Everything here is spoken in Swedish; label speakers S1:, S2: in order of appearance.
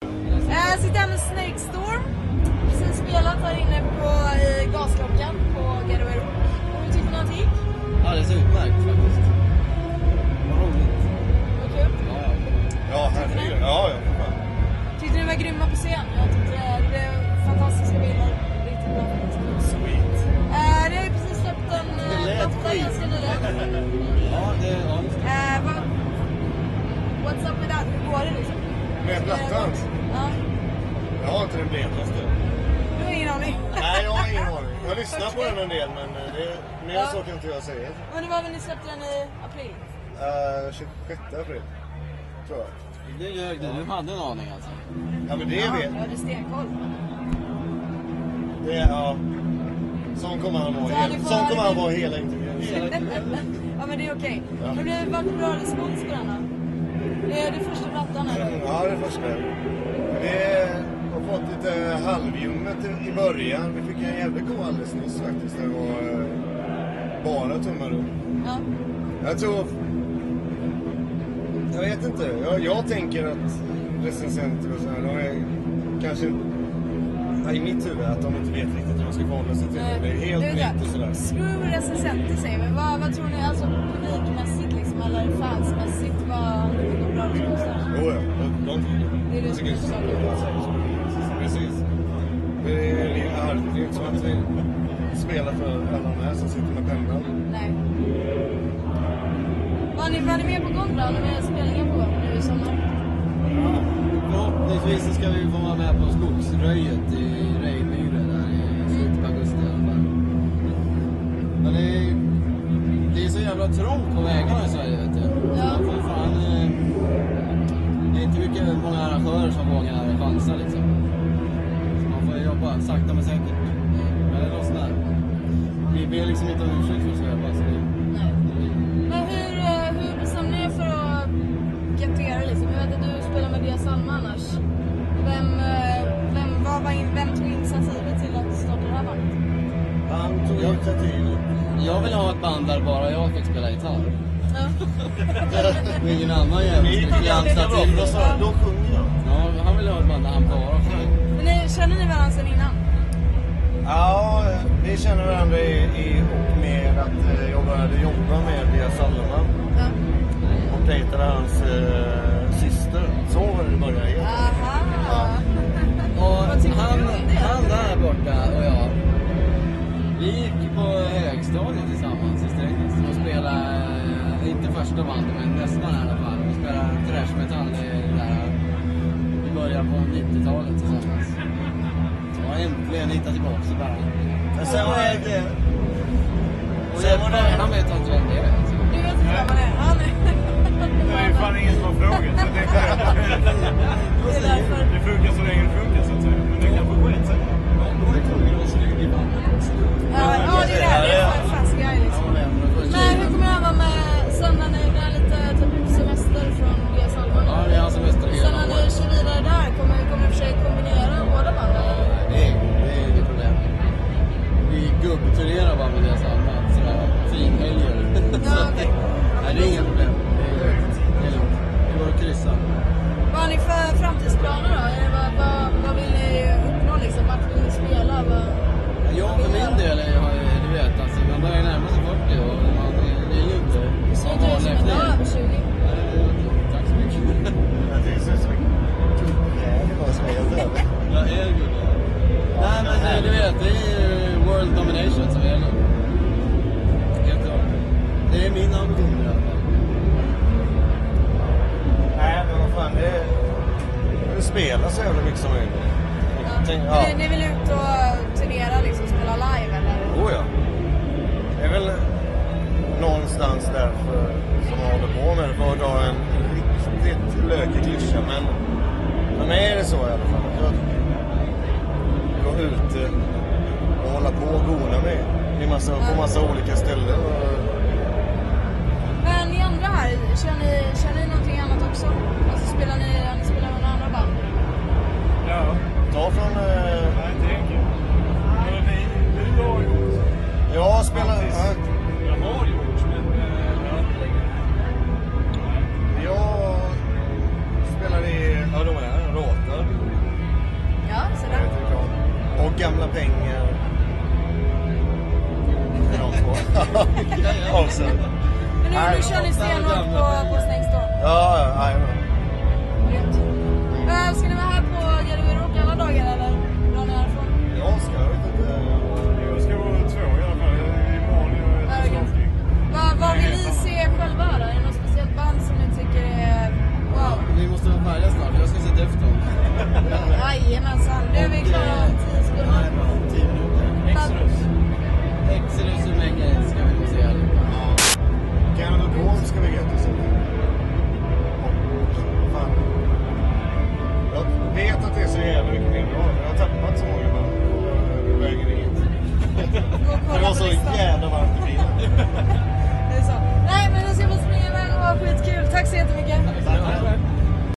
S1: Eh, Snake Storm. Precis spelat här inne på, i gasklockan på Getaway Rock. Och hur tyckte ni att det gick?
S2: Alldeles utmärkt faktiskt. Vad roligt.
S1: Vad kul.
S2: Ja, ja.
S3: Ja, herregud. Ja, ja, för fan.
S1: Tyckte ni var grymma på scen? Jag tyckte eh, det blev fantastiska bilder. Riktigt bra faktiskt.
S3: Sweet.
S1: Eh, det har ju precis släppt en
S2: Det
S1: eh,
S2: lät
S1: platta
S2: skit.
S1: ganska nyligen.
S2: Ja, det, ja, just det.
S1: Eh, vad- What's up med that? Hur går det liksom?
S3: Med plattan?
S1: Ja.
S3: Jag har inte den blekaste.
S1: Du har ingen aning?
S3: Nej, jag har ingen aning. Jag lyssnar på den en del, men eh, det, mer
S1: Ja.
S3: än så kan inte jag säga.
S1: Men det var väl ni släppte den i april?
S3: Uh, 26 april, tror jag.
S2: Nu ljög du. Du hade en aning alltså.
S3: Ja, men det
S1: Jag
S3: vet
S1: hade stenkoll.
S3: det, ja. Sån kommer han vara,
S1: Så hade
S3: hela,
S1: fått-
S3: sån kommer han vara hela intervjun.
S1: ja men det är okej.
S3: Ja.
S1: Har det varit bra respons på den då? Det är det första plattan eller?
S3: Ja, det är första. Det har fått lite halvljummet i- i början. Vi fick en jävligt god alldeles nyss faktiskt. Det var eh, bara tummar upp.
S1: Ja.
S3: Jag tror... Jag vet inte. Jag, jag tänker att recensenter och så här, de är kanske... I mitt huvud att de inte vet riktigt hur de ska förhålla sig till det. Det är
S1: Det
S3: helt
S1: är det.
S3: nytt och sådär.
S1: Screw recensenter säger vi. Vad, vad tror ni, alltså publikmässigt liksom eller fansmässigt, vad har ni fått någon bra respons där?
S3: Jo, ja. De- de tycker
S1: Det är det som är
S3: saken. Precis. Det är det är- det är inte som att vi spelar för alla de här som sitter med pennan.
S1: Nej. Vad har ni, vad har ni mer på gång då? Har ni mer spelningar på gång nu i sommar?
S2: Förhoppningsvis så ska vi få vara med på skogsröjet i Rejmyre där i slutet på augusti i alla fall. Men det är, det är så jävla trångt på vägarna i Sverige vet du. Så
S1: Ja.
S2: man får fan, eh, det är inte mycket många arrangörer som vågar chansa liksom. Så man får jobba sakta men säkert. Men det lossnar. Vi ber liksom inte om ursäkt för att vi ska jobba. Så det,
S1: Nej. Men hur, eh, hur bestämde ni er för att gettera liksom? Jag vet att du spelar med Dias Alma annars. Vem, eh, vem, vad var in, vem tog initiativet till att starta det här bandet?
S3: Han tog initiativet.
S2: jag vill ha ett band där bara jag fick spela gitarr.
S1: Ja.
S2: Och ingen annan jävel skulle glansa till
S3: Då
S2: oss.
S3: sa- Då sjunger jag.
S2: Ja, han vill ha ett band där han bara sjunger.
S1: Men ni, känner ni varandra sedan innan?
S3: Ja, vi känner varandra i, i och med att eh, jag började jobba med Elias Salman
S1: Ja.
S3: och dejtade hans eh, syster. Så var det i början. helt.
S1: Aha.
S2: Och
S1: Vad tycker
S2: han,
S1: du om det?
S2: han där borta och jag, vi gick på högstadiet tillsammans i Strängnäs och spelade, eh, inte första bandet men nästan i alla fall, vi spelade thrash metal i, där, i början på 90-talet tillsammans. Och äntligen hittade tillbaka så bara.
S3: Men sen var det... det-
S2: Och
S3: Sen
S2: jag,
S3: var det...
S2: han vet inte vem det är. alltså.
S1: Du vet inte vem man är? Ja, nej.
S4: Det är ju fan ingen som har frågat. Så det, är,
S1: Det är därför.
S4: det funkar så länge det funkar så att säga. Men det kanske skiter sig.
S2: Han var ju tvungen att vara snygg i bandet också.
S1: Ja, ja, det är det. Det är för fast guy liksom.
S2: Han var ändå för
S1: Men hur
S2: tjej.
S1: kommer det här vara med sen när ni är lite typ semester från Dias Alma?
S2: Ja, det är han som mästare
S1: Sen
S2: hela
S1: när ni
S2: året.
S1: kör vidare där, kommer, kommer ni försöka kombinera båda banden? eller?
S2: Det är, det är inget problem. Vi gubbturnerar bara med deras allmän. Sådär finhelger.
S1: Ja, okej.
S2: Nej, det är inga problem. Det är lugnt. Det är lugnt. Det går att kryssa.
S1: Vad har ni för framtidsplaner då? Är det, vad, vad, vad vill ni uppnå liksom? Vart vill ni spela? Vad...
S2: Jag för min del, är, har ju- du vet, alltså, man börjar närma sig 40 och man det är ju inte...
S1: Du ser inte ut som en dag över 20.
S2: Tack så mycket.
S3: Jag tycker det ser ut som en kubbjävel bara som är helt över.
S2: Jag är gullig. Nej, men eh, du vet, det är ju world domination som gäller. Helt klart. Det är min ambition i alla fall.
S3: Nej, men vad fan. Det är... Jag vill spela så jävla mycket som möjligt. Jag tänkte-
S1: Ja. Ni, ni vill ut och turnera liksom, spela live eller?
S3: Oh ja. Det är väl någonstans därför som jag håller på med det. För att dra en riktigt lökig klyscha. Men för mig är det så i alla fall. Att jag går ute och hålla på och gona mig i massa, på massa olika ställen.
S1: Men ni andra här, kör ni, kör ni någonting annat också? Alltså spelar ni, har ni spelat med några andra band?
S4: Ja,
S3: Ta från... Eh,
S4: nej, inte enkelt. Men vi, du har gjort.
S3: jag spelar...
S4: Faktiskt. Jag har gjort, men eh, jag har inte längre.
S3: Jag spelar i... Ja, de är här. Råtar.
S1: Ja,
S3: gamla pengar. Till de två. Också.
S1: Men nu, nu kör ni stenhårt på, på Snakes Door.
S3: Ja, ja, jajamän.
S1: Grymt. Eh, ska ni vara här på Gällivare Rock alla dagar eller? Drar ni härifrån?
S3: Jag ska, jag vet inte.
S4: Jag ska vara två i alla fall. Imorgon gör jag ett
S1: Herregud.
S4: storting.
S1: Vad, vad vill ni se själva då? Är det något speciellt band som ni tycker är wow?
S2: Vi måste vara färdiga snart, jag ska se Deftones.
S1: Jajamensan, nu är vi klara.
S2: eh,
S3: liksom?